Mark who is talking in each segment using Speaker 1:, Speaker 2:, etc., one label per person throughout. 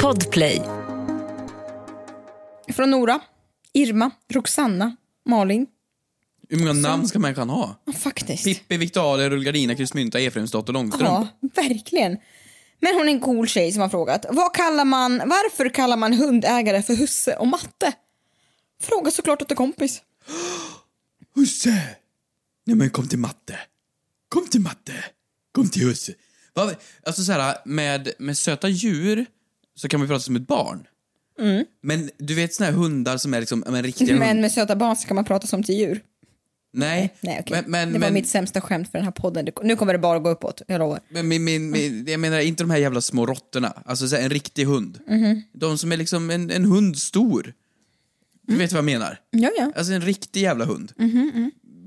Speaker 1: Podplay.
Speaker 2: Från Nora, Irma, Roxanna, Malin.
Speaker 3: Hur många namn ska människan ha?
Speaker 2: Ja, faktiskt.
Speaker 3: Pippi, Viktalia, Rullgardina, Kryssmynta, Efraimsdotter, Långstrump.
Speaker 2: Ja, verkligen. Men hon är en cool tjej som har frågat. Vad kallar man, varför kallar man hundägare för husse och matte? Fråga såklart åt en kompis.
Speaker 3: Husse! Nej men kom till matte. Kom till matte. Kom till husse. Va? Alltså så här, med, med söta djur så kan man ju prata som ett barn. Men du vet såna här hundar som är liksom, ja, men riktiga
Speaker 2: Mm. Men
Speaker 3: hund...
Speaker 2: med söta barn så kan man prata som till djur.
Speaker 3: Nej.
Speaker 2: Nej, okej.
Speaker 3: Men, men,
Speaker 2: det var
Speaker 3: men,
Speaker 2: mitt sämsta skämt för den här podden. Det- Nu kommer det bara gå uppåt, jag lovar.
Speaker 3: men, min- min- min- jag menar inte de här jävla små råttorna. Alltså så här, en riktig hund.
Speaker 2: Mhm.
Speaker 3: De som är liksom en, en hund stor. Du
Speaker 2: Mm.
Speaker 3: vet vad jag menar?
Speaker 2: Ja, ja.
Speaker 3: Alltså en riktig jävla hund.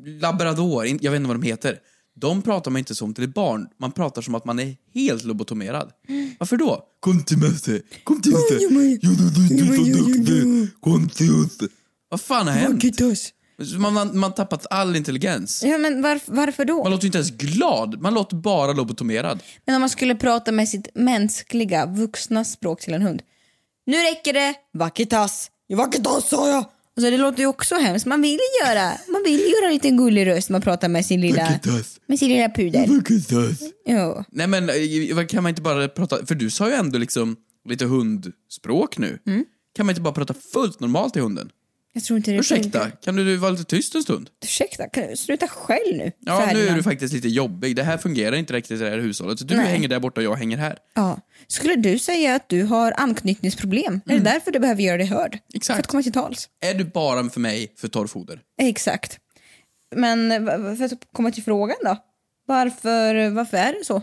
Speaker 3: Labrador, in- jag vet inte vad de heter. De pratar man inte som till ett barn. Man pratar som att man är helt lobotomerad. Varför då? Kom till möte, kom till möte. Jo, du, du, du, är så duktig. Kom till möte. Vad fan har hänt? Man man- man har tappat all intelligens.
Speaker 2: Ja, men varf- varför då?
Speaker 3: Man låter ju inte ens glad, man låter bara lobotomerad.
Speaker 2: Men om man skulle prata med sitt mänskliga, vuxna språk till en hund. Nu räcker det! Vakitas! Ja, Vakitas sa jag! Alltså, det låter ju också hemskt. Man vill ju göra, man vill ju göra en liten gullig röst när man pratar med sin lilla,
Speaker 3: Vakitas. Mm.
Speaker 2: med sin lilla pudel.
Speaker 3: Vakitas.
Speaker 2: Jo.
Speaker 3: Nej men eh, vad- kan man inte bara prata, för du sa ju ändå liksom lite hundspråk nu. Kan man inte bara prata fullt normalt till hunden?
Speaker 2: Jag tror inte det
Speaker 3: Ursäkta, kan du vara lite tyst en stund?
Speaker 2: Ursäkta, kan du sluta skäll nu? Så
Speaker 3: Ja,
Speaker 2: här
Speaker 3: nu är
Speaker 2: innan.
Speaker 3: du faktiskt lite jobbig. Det här fungerar inte riktigt i det här hushållet. Så Du
Speaker 2: Nej.
Speaker 3: hänger där borta och jag hänger här.
Speaker 2: ja. Skulle du säga att du har anknytningsproblem? Är det därför du behöver göra dig hörd?
Speaker 3: Mm. Exakt.
Speaker 2: För att komma till tals?
Speaker 3: Är du bara för mig för torrfoder?
Speaker 2: Exakt. Men eh, va- va- för att komma till frågan då. Varför, varför är det så?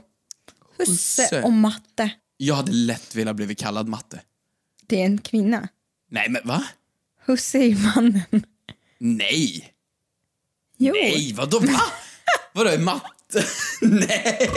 Speaker 2: Husse,
Speaker 3: Husse.
Speaker 2: och matte.
Speaker 3: Jag hade lätt velat bli kallad matte.
Speaker 2: Det är en kvinna.
Speaker 3: Nej, men va?
Speaker 2: Husse är ju mannen.
Speaker 3: Nej!
Speaker 2: Jo.
Speaker 3: Nej, vadå va? vadå är matte? Nej!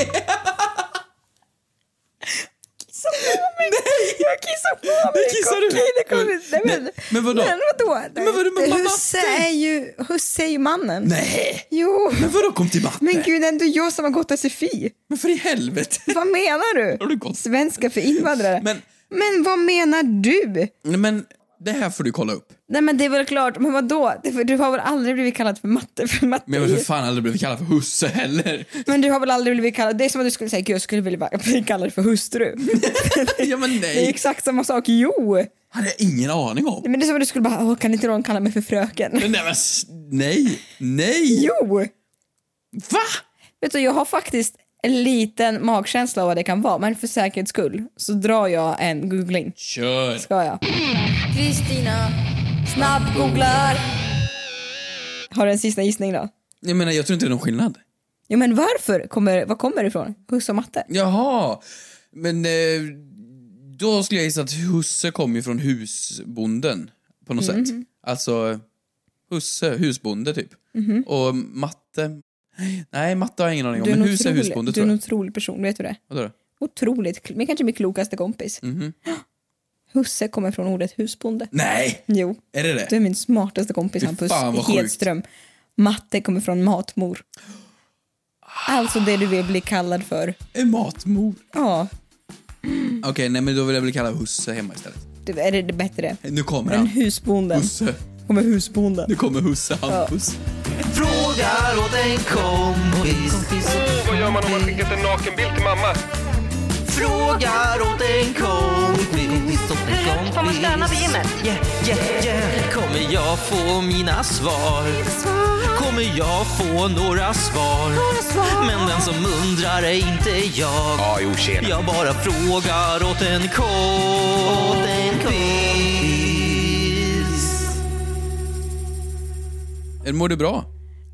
Speaker 2: Nej. Jag kissar på mig.
Speaker 3: Nu kissar du.
Speaker 2: Okej, det kommer- Nej, men,
Speaker 3: Nej, men vadå?
Speaker 2: Men vadå?
Speaker 3: Men vadå, men vad
Speaker 2: husse,
Speaker 3: matte?
Speaker 2: är ju, husse är ju mannen.
Speaker 3: Nej!
Speaker 2: Jo.
Speaker 3: Men vadå kom till matte?
Speaker 2: Men gud, det är ändå jag som har gått SFI.
Speaker 3: Men för i helvete!
Speaker 2: Vad menar du?
Speaker 3: Har du gått?
Speaker 2: Svenska för invandrare.
Speaker 3: Men,
Speaker 2: Men vad menar du?
Speaker 3: nej, men det här får du kolla upp.
Speaker 2: Nej men det är väl klart, men vadå? Det- för Du har väl aldrig blivit kallad för matte? För matte
Speaker 3: Men jag har för fan aldrig blivit kallad för husse heller.
Speaker 2: Men du har väl aldrig blivit kallad, det är som att du skulle säga gud jag skulle vilja vara- bli kallad för hustru.
Speaker 3: ja, men
Speaker 2: det är
Speaker 3: nej.
Speaker 2: exakt samma sak, jo!
Speaker 3: Hade jag ingen aning om.
Speaker 2: Men det är som att du skulle bara, Åh, kan inte någon kalla mig för fröken?
Speaker 3: Nej, men s- nej, nej!
Speaker 2: Jo!
Speaker 3: Va?
Speaker 2: Vet du, jag har faktiskt en liten magkänsla av vad det kan vara, men för säkerhets skull så drar jag en googling.
Speaker 3: Kör!
Speaker 2: Ska jag? Kristina snabb-googlar. Har du en sista gissning då?
Speaker 3: Jag menar, jag tror inte det är någon skillnad.
Speaker 2: Jo men varför? Kommer, vad kommer det ifrån? Husse och matte?
Speaker 3: Jaha, men eh, då skulle jag gissa att husse kommer ju från husbonden på något sätt.
Speaker 2: Mhm.
Speaker 3: Alltså, husse, husbonde typ. Och matte, nej matte har jag ingen aning om,
Speaker 2: Du Mhm. är
Speaker 3: men
Speaker 2: en
Speaker 3: hus är
Speaker 2: otrolig-
Speaker 3: husbonde
Speaker 2: Du är
Speaker 3: tror
Speaker 2: en
Speaker 3: jag.
Speaker 2: otrolig person, vet du det?
Speaker 3: Vadå då?
Speaker 2: Otroligt, kl- men kanske min klokaste kompis.
Speaker 3: Mhm.
Speaker 2: Husse kommer från ordet husbonde.
Speaker 3: Nej,
Speaker 2: Jo,
Speaker 3: är det det?
Speaker 2: du är min smartaste kompis
Speaker 3: Fy
Speaker 2: Hampus
Speaker 3: fan, vad
Speaker 2: Hedström. Matte kommer från matmor. Alltså det du vill bli kallad för.
Speaker 3: En matmor.
Speaker 2: Ja,
Speaker 3: Okej, nej men då vill jag bli kallad husse hemma istället.
Speaker 2: det är det bättre.
Speaker 3: Nu kommer
Speaker 2: Men
Speaker 3: han.
Speaker 2: husbonden.
Speaker 3: Husse.
Speaker 2: Kommer husbonden.
Speaker 3: Nu kommer husse Hampus.
Speaker 4: Frågar åt en kompis.
Speaker 5: Åh, vad gör man om man skickat en nakenbild till mamma?
Speaker 4: Frågar åt en kompis. åt en kompis.
Speaker 6: Får man stöna vid gymmet?
Speaker 4: Yeah, yeah, yeah. Kommer jag få mina svar? Kommer jag få några svar? Men den som undrar är inte jag.
Speaker 5: Ja, jo, tjena.
Speaker 4: Jag bara frågar åt en kompis.
Speaker 3: Mår du bra?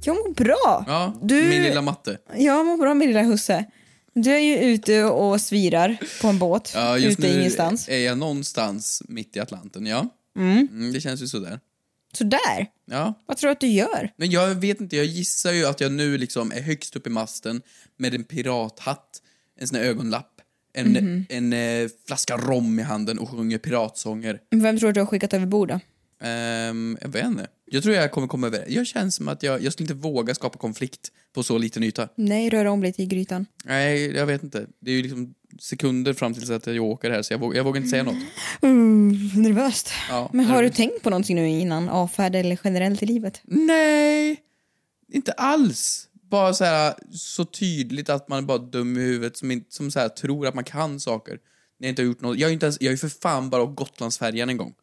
Speaker 2: Jag mår bra.
Speaker 3: Ja,
Speaker 2: du...
Speaker 3: min lilla matte.
Speaker 2: Jag mår bra min lilla husse. Du är ju ute och svirar på en båt.
Speaker 3: Ja, just
Speaker 2: ute
Speaker 3: nu Eh.
Speaker 2: ingenstans.
Speaker 3: är jag någonstans mitt i Atlanten, ja. Mm, det känns ju sådär.
Speaker 2: Så där.
Speaker 3: Ja.
Speaker 2: Vad tror du att du gör?
Speaker 3: Men jag vet inte, jag gissar ju att jag nu liksom är högst upp i masten med en pirathatt, en sån här ögonlapp, en,
Speaker 2: Mhm.
Speaker 3: en eh, flaska rom i handen och sjunger piratsånger.
Speaker 2: Vem tror du att du har skickat över bord då?
Speaker 3: Ehm, jag vet inte. Jag tror jag kommer komma över Jag känns som att jag, jag skulle inte våga skapa konflikt på så liten yta.
Speaker 2: Nej, röra om lite i grytan.
Speaker 3: Nej, jag vet inte. Det är ju liksom sekunder fram tills att jag åker här så jag vågar, jag vågar inte säga något.
Speaker 2: Mm, nervöst.
Speaker 3: Ja,
Speaker 2: Men har du
Speaker 3: nervöst.
Speaker 2: tänkt på någonting nu innan avfärd eller generellt i livet?
Speaker 3: Nej, inte alls. Bara så här så tydligt att man är bara dum i huvudet som, inte, som så här, tror att man kan saker. När jag inte har gjort något. Jag är ju inte ens, jag är ju för fan bara åkt Gotlandsfärjan en gång.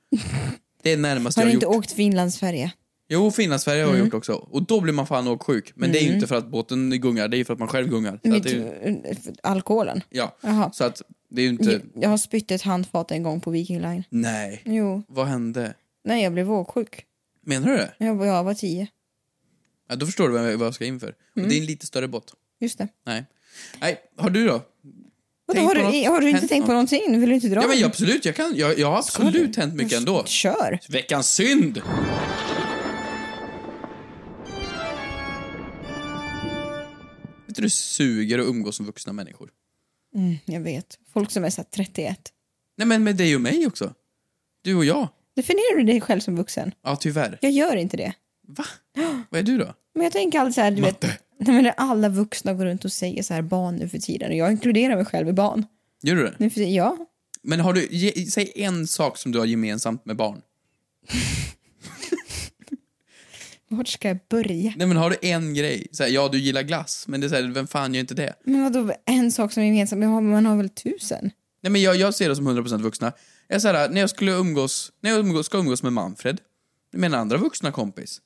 Speaker 3: Det är närmast
Speaker 2: Har
Speaker 3: jag
Speaker 2: du
Speaker 3: har
Speaker 2: inte
Speaker 3: gjort.
Speaker 2: åkt Mm. Finlandsfärja?
Speaker 3: Jo, Finlandsfärja har jag gjort också. Och då blir man fan åksjuk. Men det är
Speaker 2: Mm.
Speaker 3: ju inte för att båten gungar, det är ju för att man själv gungar. Så att
Speaker 2: Mitt,
Speaker 3: det är, ju-
Speaker 2: Eh, alkoholen?
Speaker 3: ja.
Speaker 2: Jaha.
Speaker 3: Så att det är ju inte...
Speaker 2: Jag har spytt ett handfat en gång på Viking Line.
Speaker 3: Nej.
Speaker 2: Jo,
Speaker 3: Vad hände?
Speaker 2: nej jag blev åksjuk.
Speaker 3: Menar du det?
Speaker 2: Jag var, jag var tio.
Speaker 3: Ja, då förstår du vad jag, vad jag ska in för.
Speaker 2: Mm.
Speaker 3: Och det är en lite större båt.
Speaker 2: Just det.
Speaker 3: Nej. Nej, har du då?
Speaker 2: Vadå,
Speaker 3: Tänk
Speaker 2: har,
Speaker 3: på
Speaker 2: du,
Speaker 3: något.
Speaker 2: har du inte
Speaker 3: Hänt
Speaker 2: tänkt på någonting? Vill du inte dra?
Speaker 3: Ja men
Speaker 2: den?
Speaker 3: jag, absolut, jag, kan, jag, jag har absolut hänt mycket ändå.
Speaker 2: Kör!
Speaker 3: Veckans synd! Vet du det suger att umgås som vuxna människor?
Speaker 2: Jag vet. Folk som är så här 31.
Speaker 3: Nej men med dig och mig också. Du och jag.
Speaker 2: Definierar du dig själv som vuxen?
Speaker 3: Ja tyvärr.
Speaker 2: Jag gör inte det.
Speaker 3: Va? Vad är du då?
Speaker 2: Men jag tänker alltid så här, du vet,
Speaker 3: Matte.
Speaker 2: nej, men när alla vuxna går runt och säger så här barn nu för tiden och jag inkluderar mig själv i barn.
Speaker 3: Gör du det?
Speaker 2: Nu för tiden, ja.
Speaker 3: Men har du, ge, säg en sak som du har gemensamt med barn.
Speaker 2: Vart ska jag börja?
Speaker 3: Nej men har du en grej? Så här, ja du gillar glass, men det är så här, vem fan gör inte det?
Speaker 2: Men vadå, en sak som är gemensam, men har- man har väl tusen?
Speaker 3: Nej men jag, jag ser det som 100% vuxna. Jag är så här, när jag skulle umgås, när jag umgås, ska umgås med Manfred, med en andra vuxna kompis,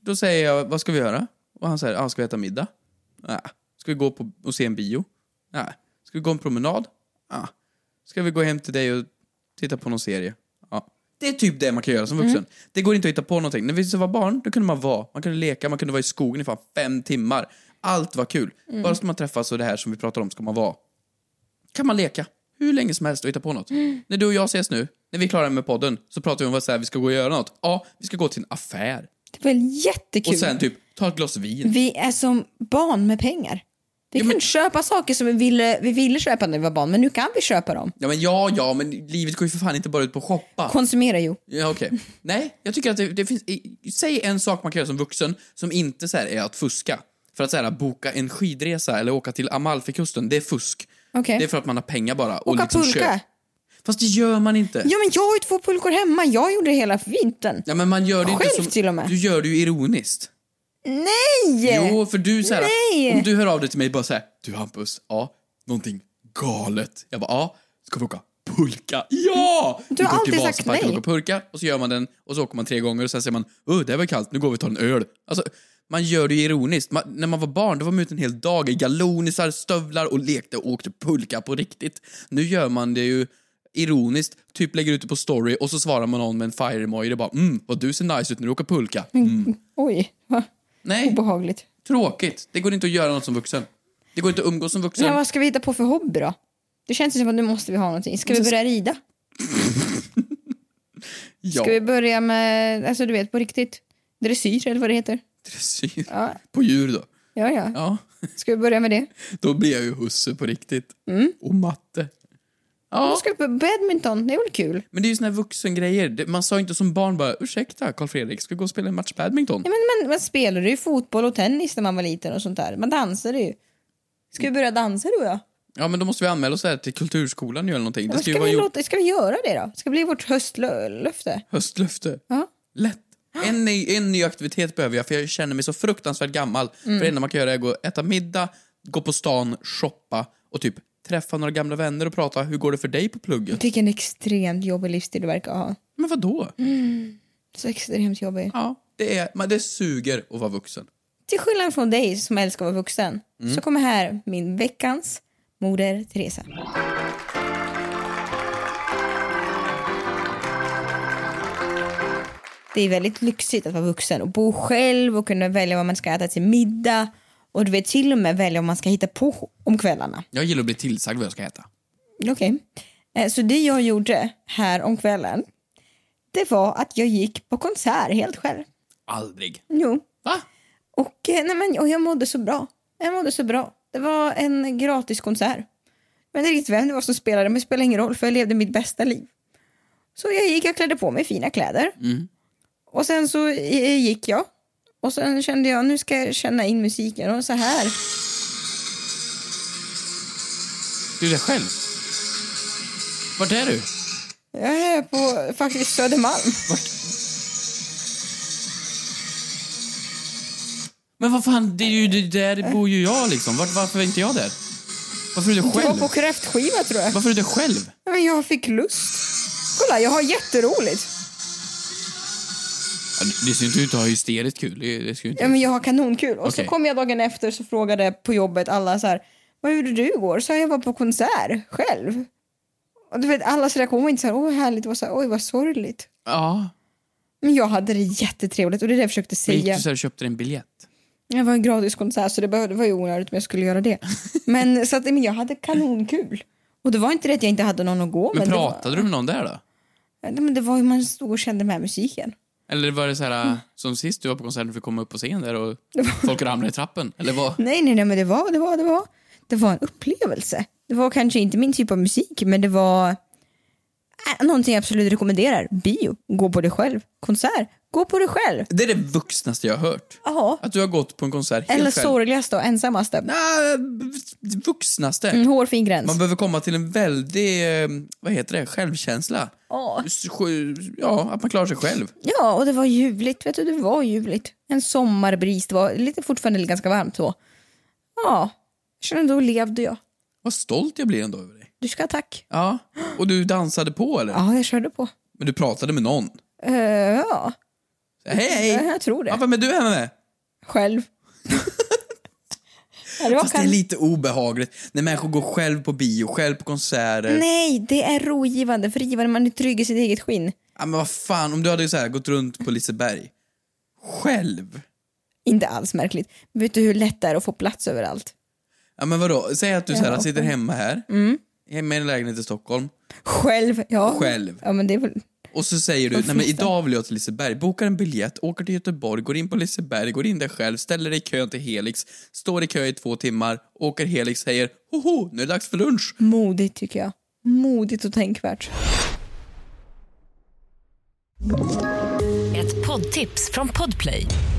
Speaker 3: då säger jag, vad ska vi göra? Och han säger, ah, ska vi äta middag? Nej. Ska vi gå på, och se en bio? Nej. Ska vi gå en promenad? Ja. Ska vi gå hem till dig och titta på någon serie? Ja. Det är typ det man kan göra som vuxen. Det går inte att hitta på någonting. När vi var barn, då kunde man vara. Man kunde leka, man kunde vara i skogen i fan fem timmar. Allt var kul. Bara ska man träffas och det här som vi pratar om ska man vara kan man leka hur länge som helst och hitta på något.
Speaker 2: Mm.
Speaker 3: När du och jag ses nu, när vi är klara med podden, så pratar vi om vad så här, vi ska gå och göra något. Ja, vi ska gå till en affär.
Speaker 2: Det var jättekul.
Speaker 3: Och sen typ ta ett glas vin.
Speaker 2: Vi är som barn med pengar. Vi kan köpa saker som vi ville, vi ville köpa när vi var barn, men nu kan vi köpa dem.
Speaker 3: Ja, men ja, ja, men livet går ju för fan inte bara ut på att shoppa.
Speaker 2: Konsumera, jo.
Speaker 3: Ja, okej. Nej, jag tycker att det, det finns... i- Säg en sak man kan göra som vuxen som inte så här är att fuska. För att så här, boka en skidresa eller åka till Amalfikusten, det är fusk.
Speaker 2: Okej.
Speaker 3: Det är för att man har pengar bara. Och
Speaker 2: Åka
Speaker 3: liksom
Speaker 2: pulka.
Speaker 3: köp. Fast det gör man inte.
Speaker 2: Ja, men jag har ju två pulkor hemma. Jag gjorde det hela vintern.
Speaker 3: Ja, men man gör det
Speaker 2: Själv
Speaker 3: inte som...
Speaker 2: till och med.
Speaker 3: Du gör det ju ironiskt.
Speaker 2: Nej!
Speaker 3: Jo, för du så här,
Speaker 2: Eh, Nej!
Speaker 3: om du hör av dig till mig bara så här, du Hampus, ja, någonting galet. Jag bara, ja, ska vi åka pulka? Ja! Du
Speaker 2: har alltid sagt
Speaker 3: Vasaparken
Speaker 2: nej.
Speaker 3: och åker pulka och så gör man den och så åker man tre gånger och sen säger man, oh, det här var kallt, nu går vi och tar en öl. Alltså, man gör det ju ironiskt. Man, när man var barn då var man ute en hel dag i galonisar, stövlar och lekte och åkte pulka på riktigt. Nu gör man det ju ironiskt, typ lägger ut det på story och så svarar man någon med en fire-emoji och bara, mm, vad du ser nice ut när du åker pulka.
Speaker 2: Oj, vad
Speaker 3: Nej.
Speaker 2: obehagligt.
Speaker 3: Tråkigt. Det går inte att göra något som vuxen. Det går inte att umgås som vuxen.
Speaker 2: Men vad ska vi hitta på för hobby då? Det känns ju som att nu måste vi ha någonting. Ska
Speaker 3: Alltså,
Speaker 2: vi börja rida?
Speaker 3: ja.
Speaker 2: Ska vi börja med, alltså du vet på riktigt, dressyr eller vad det heter?
Speaker 3: Dressyr.
Speaker 2: Ja.
Speaker 3: På djur då.
Speaker 2: Ja, ja.
Speaker 3: Ja.
Speaker 2: Ska vi börja med det?
Speaker 3: Då blir jag ju husse på riktigt.
Speaker 2: Mm.
Speaker 3: Och matte.
Speaker 2: Då
Speaker 3: Ja,
Speaker 2: ska vi på badminton, det är väl kul?
Speaker 3: men det är ju såna här vuxengrejer. Det- Man sa inte som barn bara ursäkta Karl Fredrik, ska vi gå och spela en match badminton?
Speaker 2: Ja, men man, man spelade ju fotboll och tennis när man var liten och sånt där. Man dansade ju. Ska vi börja dansa du och jag?
Speaker 3: Ja, men då måste vi anmäla oss här till kulturskolan eller någonting. Det
Speaker 2: Vad
Speaker 3: ska
Speaker 2: Ska,
Speaker 3: ju vara
Speaker 2: vi
Speaker 3: gjort
Speaker 2: låta, ska vi göra det då? Ska det bli vårt höstlöfte?
Speaker 3: höstlöfte.
Speaker 2: Ja.
Speaker 3: Lätt. En ny, en ny aktivitet behöver jag för jag känner mig så fruktansvärt gammal. För det enda man kan göra är att gå och äta middag, gå på stan, shoppa och typ träffa några gamla vänner och prata hur går det för dig på plugget?
Speaker 2: Vilken extremt jobbig livsstil du verkar ha.
Speaker 3: Men vad då?
Speaker 2: Så extremt jobbig.
Speaker 3: Mm. Ja, det, är, men det suger att vara vuxen.
Speaker 2: Till skillnad från dig som älskar att vara vuxen så kommer här min veckans Moder Teresa. Det är väldigt lyxigt att vara vuxen och bo själv och kunna välja vad man ska äta till middag och du vet till och med välja vad man ska hitta på om kvällarna.
Speaker 3: Jag gillar att bli tillsagd vad jag ska äta.
Speaker 2: Okej. Eh, Så det jag gjorde här om kvällen det var att jag gick på konsert helt själv.
Speaker 3: Aldrig.
Speaker 2: Jo,
Speaker 3: Va?
Speaker 2: och, eh, nej men, och jag mådde så bra. Jag mådde så bra. Det var en gratis konsert. Jag vet inte riktigt vem det var som spelade, men det spelar ingen roll för jag levde mitt bästa liv. Så jag gick, jag klädde på mig fina kläder. Och sen så eh, gick jag. Och sen kände jag, nu ska jag känna in musiken. Och så här.
Speaker 3: Du är där själv. Vart är du?
Speaker 2: Jag är på faktiskt Södermalm.
Speaker 3: Men vad fan, det är ju det där bor ju jag liksom. Vart, varför är inte jag där? Varför är du
Speaker 2: Det var
Speaker 3: själv?
Speaker 2: på kräftskiva tror jag.
Speaker 3: Varför är du själv?
Speaker 2: Ja, Men jag fick lust. Kolla, jag har jätteroligt.
Speaker 3: Ja, Det det ser inte ut att ha hysteriskt kul. Det, det ska ju inte...
Speaker 2: Ja, men jag har kanonkul. Och
Speaker 3: Okej.
Speaker 2: så kom jag dagen efter så frågade jag på jobbet alla så här, vad gjorde du igår? Så jag var på konsert själv. Och du vet, allas reaktion var inte så här, åh härligt, det var så här, oj vad sorgligt.
Speaker 3: Ja.
Speaker 2: Men jag hade det jättetrevligt och det är det jag försökte
Speaker 3: Men gick
Speaker 2: säga.
Speaker 3: du så här och köpte en biljett?
Speaker 2: Det var en gratis konsert så det behövde- det var ju onödigt om jag skulle göra det. Men så att, men jag hade kanonkul. Och det var inte det att jag inte hade någon att gå
Speaker 3: Men
Speaker 2: med.
Speaker 3: pratade du med någon där då?
Speaker 2: Det var, Ja, men det var ju man stod och kände den här musiken.
Speaker 3: Eller var det så
Speaker 2: Mm.
Speaker 3: här äh, som sist du var på konserten för att komma upp på scen där och folk ramlade i trappen? Eller vad?
Speaker 2: Nej, nej, nej, men det var, det var, det var, det var en upplevelse. Det var kanske inte min typ av musik, men det var äh, någonting jag absolut rekommenderar. Bio, gå på det själv. Konsert, gå på det själv.
Speaker 3: Det är det vuxnaste jag har hört.
Speaker 2: Ja.
Speaker 3: Att du har gått på en konsert helt
Speaker 2: Eller
Speaker 3: själv.
Speaker 2: sorgligaste och ensammaste.
Speaker 3: Nej, det vuxnaste.
Speaker 2: Mm, hårfin gräns.
Speaker 3: Man behöver komma till en väldig, eh, vad heter det, självkänsla.
Speaker 2: Ja.
Speaker 3: S- sj- Ja, att man klarar sig själv.
Speaker 2: Ja, och det var ljuvligt. Vet du, det var ljuvligt. En sommarbris. Det var lite fortfarande ganska varmt så. Ja, jag kände då levde jag.
Speaker 3: Vad stolt jag blir ändå över dig.
Speaker 2: Du ska ha tack.
Speaker 3: Ja, och du dansade på eller?
Speaker 2: Ja, jag körde på.
Speaker 3: Men du pratade med någon.
Speaker 2: Eh, ja,
Speaker 3: Hej,
Speaker 2: Ja,
Speaker 3: hej!
Speaker 2: jag tror det.
Speaker 3: Ja, vem är du hemma med?
Speaker 2: Själv. ja, det var
Speaker 3: Fast det är
Speaker 2: kan-
Speaker 3: lite obehagligt när människor går själv på bio, själv på konserter.
Speaker 2: Nej, det är rogivande. Frigivande, man är trygg i sitt eget skinn.
Speaker 3: Ja, men vad fan, om du hade så här, gått runt på Liseberg, själv.
Speaker 2: Inte alls märkligt. Vet du hur lätt det är att få plats överallt?
Speaker 3: Ja, men vadå, säg att du så här,
Speaker 2: Ja. Mm.
Speaker 3: sitter hemma här, hemma i en lägenhet i Stockholm,
Speaker 2: Själv, ja.
Speaker 3: Själv.
Speaker 2: Ja, men det är väl...
Speaker 3: Och så säger du,
Speaker 2: Och
Speaker 3: nej men
Speaker 2: flytta.
Speaker 3: idag vill jag till Liseberg, bokar en biljett, åker till Göteborg, går in på Liseberg, går in där själv, ställer dig i kön till Helix, står i kö i två timmar, åker Helix, säger hoho, nu är det dags för lunch.
Speaker 2: Modigt tycker jag. Modigt och tänkvärt.
Speaker 1: Ett poddtips från Podplay.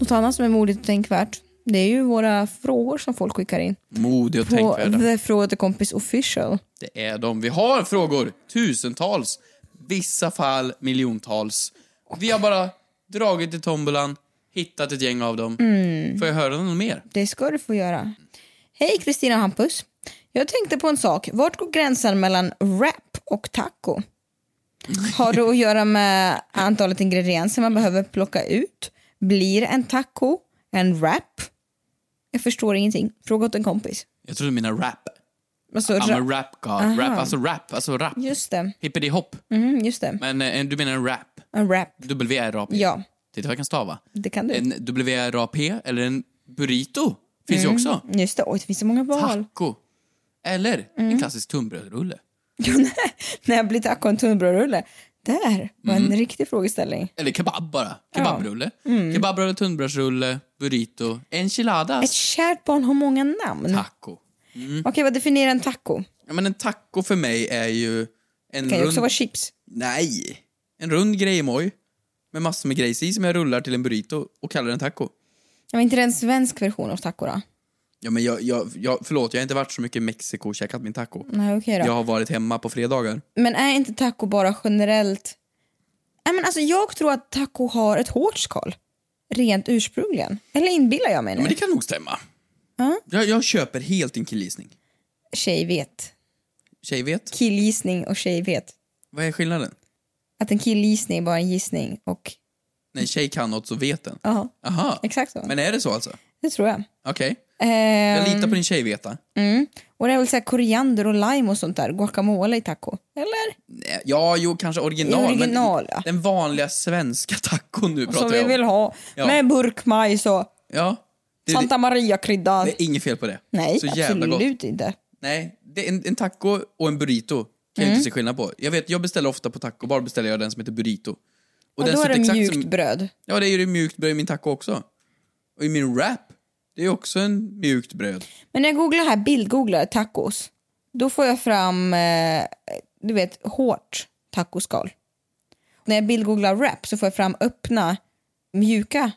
Speaker 2: Något annat som är modigt och tänkvärt, det är ju våra frågor som folk skickar in.
Speaker 3: Modig och
Speaker 2: På
Speaker 3: tänkvärda.
Speaker 2: The Fråga till Kompis Official.
Speaker 3: Det är de. Vi har frågor, tusentals, vissa fall miljontals. Vi har bara dragit i tombolan, hittat ett gäng av dem.
Speaker 2: Mm.
Speaker 3: Får jag höra någon mer?
Speaker 2: Det ska du få göra. Hej Kristina och Hampus. Jag tänkte på en sak. Vart går gränsen mellan wrap och taco? Har det att göra med antalet ingredienser man behöver plocka ut? Blir en taco en wrap? Jag förstår ingenting. Fråga åt en kompis.
Speaker 3: Jag trodde mina rap.
Speaker 2: Alltså,
Speaker 3: I'm a
Speaker 2: ra-
Speaker 3: rap god. Rap, alltså rap, alltså rap.
Speaker 2: just det.
Speaker 3: Hippity-hopp.
Speaker 2: Mm, just det.
Speaker 3: Men eh, du menar en rap?
Speaker 2: En wrap.
Speaker 3: W-R-A-P?
Speaker 2: Ja,
Speaker 3: Titta vad jag kan stava.
Speaker 2: det kan du.
Speaker 3: En WRAP eller en burrito finns ju också.
Speaker 2: Just det. Oj, det finns så många Mm. val. Mm.
Speaker 3: Taco. Eller en klassisk tunnbrödsrulle.
Speaker 2: När blir taco en tunnbrödsrulle? Där var
Speaker 3: Mhm.
Speaker 2: en riktig frågeställning.
Speaker 3: Eller kebab bara. Kebabrulle. Kebabrulle, tunnbrödsrulle, burrito,
Speaker 2: Mm. Ett
Speaker 3: enchiladas,
Speaker 2: kärt barn har många namn.
Speaker 3: taco.
Speaker 2: Okej, vad definierar en taco?
Speaker 3: Ja, men en taco för mig är ju en
Speaker 2: Det kan ju
Speaker 3: rund...
Speaker 2: också vara chips.
Speaker 3: Nej! En rund grejmoj med massor med grejs i som jag rullar till en burrito och kallar den taco.
Speaker 2: Ja, men inte det en svensk version av taco då?
Speaker 3: Ja, men jag, jag, jag, förlåt, jag har inte varit så mycket i Mexiko och käkat min taco.
Speaker 2: Nej, okej då.
Speaker 3: Jag har varit hemma på fredagar.
Speaker 2: Men är inte taco bara generellt... Nej, men alltså, jag tror att taco har ett hårt skal. Rent ursprungligen. Eller inbillar jag mig nu?
Speaker 3: Ja, men det kan nog stämma.
Speaker 2: Ja.
Speaker 3: Jag, jag köper helt din killgissning.
Speaker 2: Tjej vet.
Speaker 3: Tjej vet.
Speaker 2: Killgissning och tjej vet.
Speaker 3: Vad är skillnaden?
Speaker 2: Att en killgissning är bara en gissning och...
Speaker 3: När en tjej kan något så vet den.
Speaker 2: Ja,
Speaker 3: Aha.
Speaker 2: exakt så.
Speaker 3: Men är det så alltså?
Speaker 2: Det tror jag.
Speaker 3: Okej.
Speaker 2: Ehm,
Speaker 3: Jag litar på din tjejveta.
Speaker 2: Och det är väl så här koriander och lime och sånt där, guacamole i taco. Eller?
Speaker 3: Nej, Eh, Ja, jo, kanske original.
Speaker 2: I original,
Speaker 3: men
Speaker 2: ja.
Speaker 3: Den vanliga svenska tacon nu pratar
Speaker 2: Som vi
Speaker 3: jag om.
Speaker 2: vill ha.
Speaker 3: Ja.
Speaker 2: Med burkmajs och
Speaker 3: Ja. Det,
Speaker 2: Santa Maria-krydda.
Speaker 3: det är inget fel på det.
Speaker 2: Nej,
Speaker 3: Så jävla gott.
Speaker 2: absolut inte.
Speaker 3: Nej, det är en, en taco och en burrito kan jag
Speaker 2: Mm.
Speaker 3: inte se skillnad på. Jag vet, jag beställer ofta på taco, bara beställer jag den som heter burrito. Och
Speaker 2: Och då är
Speaker 3: ser ut
Speaker 2: det
Speaker 3: exakt
Speaker 2: mjukt
Speaker 3: som-
Speaker 2: bröd.
Speaker 3: Ja, det är ju det mjukt bröd i min taco också. Och i min wrap, det är också en mjukt bröd.
Speaker 2: Men när jag googlar här, bildgooglar tacos, då får jag fram, eh, du vet, hårt tacoskal. När jag bildgooglar wrap så får jag fram öppna, mjuka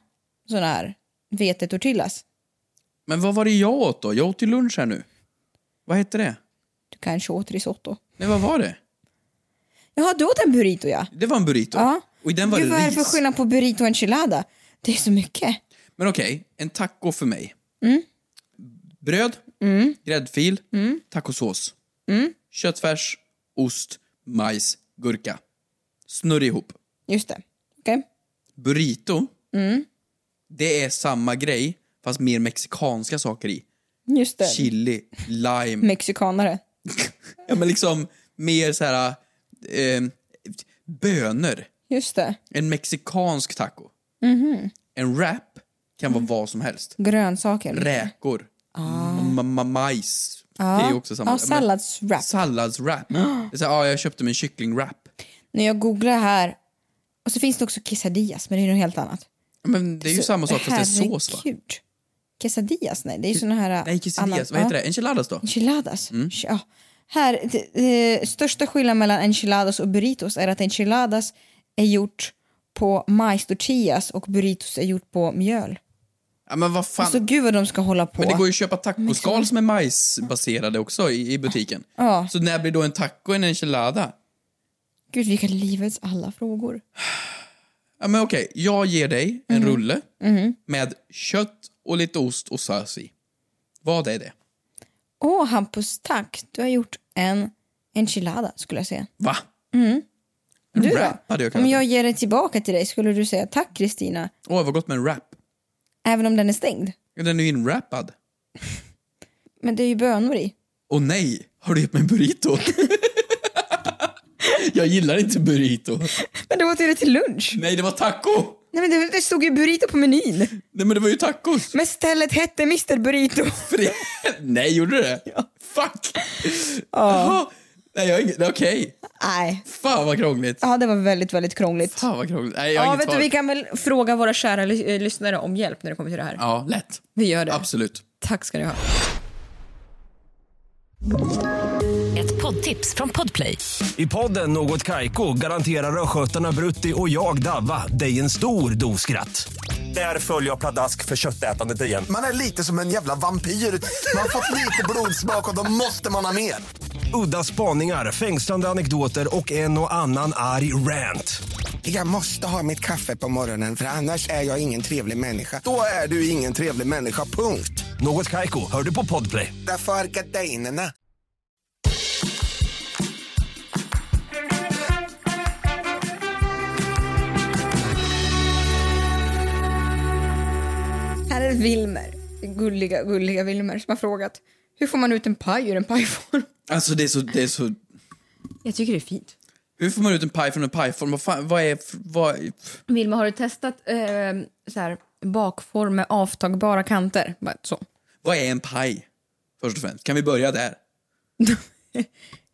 Speaker 2: sådana här vetetortillas.
Speaker 3: Men vad var det jag åt då? Jag åt ju lunch här nu. Vad hette det?
Speaker 2: Du kanske åt risotto.
Speaker 3: Nej, vad var det?
Speaker 2: Jaha, du åt en burrito ja.
Speaker 3: Det var en burrito.
Speaker 2: Ja.
Speaker 3: Och i den var
Speaker 2: Gud, vad är
Speaker 3: det
Speaker 2: det för
Speaker 3: ris.
Speaker 2: skillnad på burrito och enchilada? Det är så mycket.
Speaker 3: Men okej, en taco för mig. Bröd, gräddfil, tacosås, köttfärs, ost, majs, gurka. Snurra ihop.
Speaker 2: Just det. Okej?
Speaker 3: Burrito, det är samma grej fast mer mexikanska saker i.
Speaker 2: Just det.
Speaker 3: Chili, lime,
Speaker 2: Mexikanare.
Speaker 3: ja, men liksom mer så här eh, bönor.
Speaker 2: Just det.
Speaker 3: En mexikansk taco. En wrap kan vara vad som helst.
Speaker 2: Grönsaker.
Speaker 3: Räkor. Ma- ma- majs. Det är ju också samma.
Speaker 2: Ah. Ja,
Speaker 3: Men-
Speaker 2: salladswrap.
Speaker 3: Salladswrap. Det är så här, ja, jag köpte mig en kycklingwrap.
Speaker 2: När jag googlar här, och så finns det också quesadillas, men det är något helt annat.
Speaker 3: Men det är ju samma sak fast det är sås va?
Speaker 2: Alltså, Herregud. Quesadillas, nej. Det är ju såna här...
Speaker 3: Nej, quesadillas. Vad heter det? Mm. Enchiladas då?
Speaker 2: Enchiladas. Ja. Här, det, det, största skillnaden mellan enchiladas och burritos är att enchiladas är gjort på majstortillas och burritos är gjort på mjöl.
Speaker 3: Ja, men vad fan.
Speaker 2: Alltså gud vad de ska hålla på.
Speaker 3: Men det går ju att köpa tacoskal som är majsbaserade också i, i butiken.
Speaker 2: Ja.
Speaker 3: Så när blir då en taco en enchilada?
Speaker 2: Gud vilka livets alla frågor.
Speaker 3: Ja, men okej, jag ger dig en
Speaker 2: Mm.
Speaker 3: rulle
Speaker 2: Mm-hmm.
Speaker 3: med kött och lite ost och sås i. Vad är det?
Speaker 2: Åh Hampus, tack. Du har gjort en enchilada skulle jag säga.
Speaker 3: Va? En
Speaker 2: Mm. Du
Speaker 3: wrap hade jag
Speaker 2: Om
Speaker 3: kallat
Speaker 2: jag
Speaker 3: jag...
Speaker 2: ger det tillbaka till dig skulle du säga tack Kristina,
Speaker 3: Åh, vad gott med en wrap.
Speaker 2: även om den är stängd.
Speaker 3: Den är ju inwrappad.
Speaker 2: Men det är ju bönor i.
Speaker 3: Åh nej, har du gett mig en burrito? jag gillar inte burrito.
Speaker 2: Men du åt ju det till lunch.
Speaker 3: Nej, det var taco!
Speaker 2: Nej men det, det stod ju burrito på menyn.
Speaker 3: Nej, men det var ju tacos.
Speaker 2: Men stället hette Mr Burrito.
Speaker 3: För det... nej, gjorde du det? Fuck! Jaha. Nej, jag har inget... Okej.
Speaker 2: Nej.
Speaker 3: Fan vad krångligt.
Speaker 2: Ja det var väldigt, väldigt krångligt.
Speaker 3: Fan vad krångligt. Nej, jag har
Speaker 2: Ja
Speaker 3: inget
Speaker 2: vet du,
Speaker 3: svar.
Speaker 2: vi kan väl fråga våra kära ly- eh, lyssnare om hjälp när det kommer till det här.
Speaker 3: Ja, lätt.
Speaker 2: Vi gör det.
Speaker 3: Absolut.
Speaker 2: Tack ska ni ha.
Speaker 1: Ett poddtips från Podplay.
Speaker 7: I podden Något Kaiko garanterar östgötarna Brutti och jag, Davva, dig en stor dos skratt. Där följer jag pladask för köttätandet igen.
Speaker 8: Man är lite som en jävla vampyr. Man har fått lite blodsmak och då måste man ha mer.
Speaker 7: Udda spaningar, fängslande anekdoter och en och annan arg rant.
Speaker 8: Jag måste ha mitt kaffe på morgonen för annars är jag ingen trevlig människa. Då är du ingen trevlig människa, punkt.
Speaker 7: Något Kaiko, hör du på Podplay.
Speaker 8: Därför är gardinerna.
Speaker 2: Här är Wilmer. Gulliga, gulliga Wilmer som har frågat. Hur får man ut en paj ur en pajform?
Speaker 3: Alltså det är så... Det är så...
Speaker 2: Jag tycker det är fint.
Speaker 3: Hur får man ut en paj från en pajform? Vad, fan, vad är... Vad...
Speaker 2: Vilma, har du testat eh, så här, bakform med avtagbara kanter? Bara Så.
Speaker 3: Vad är en paj? Först och främst, kan vi börja där?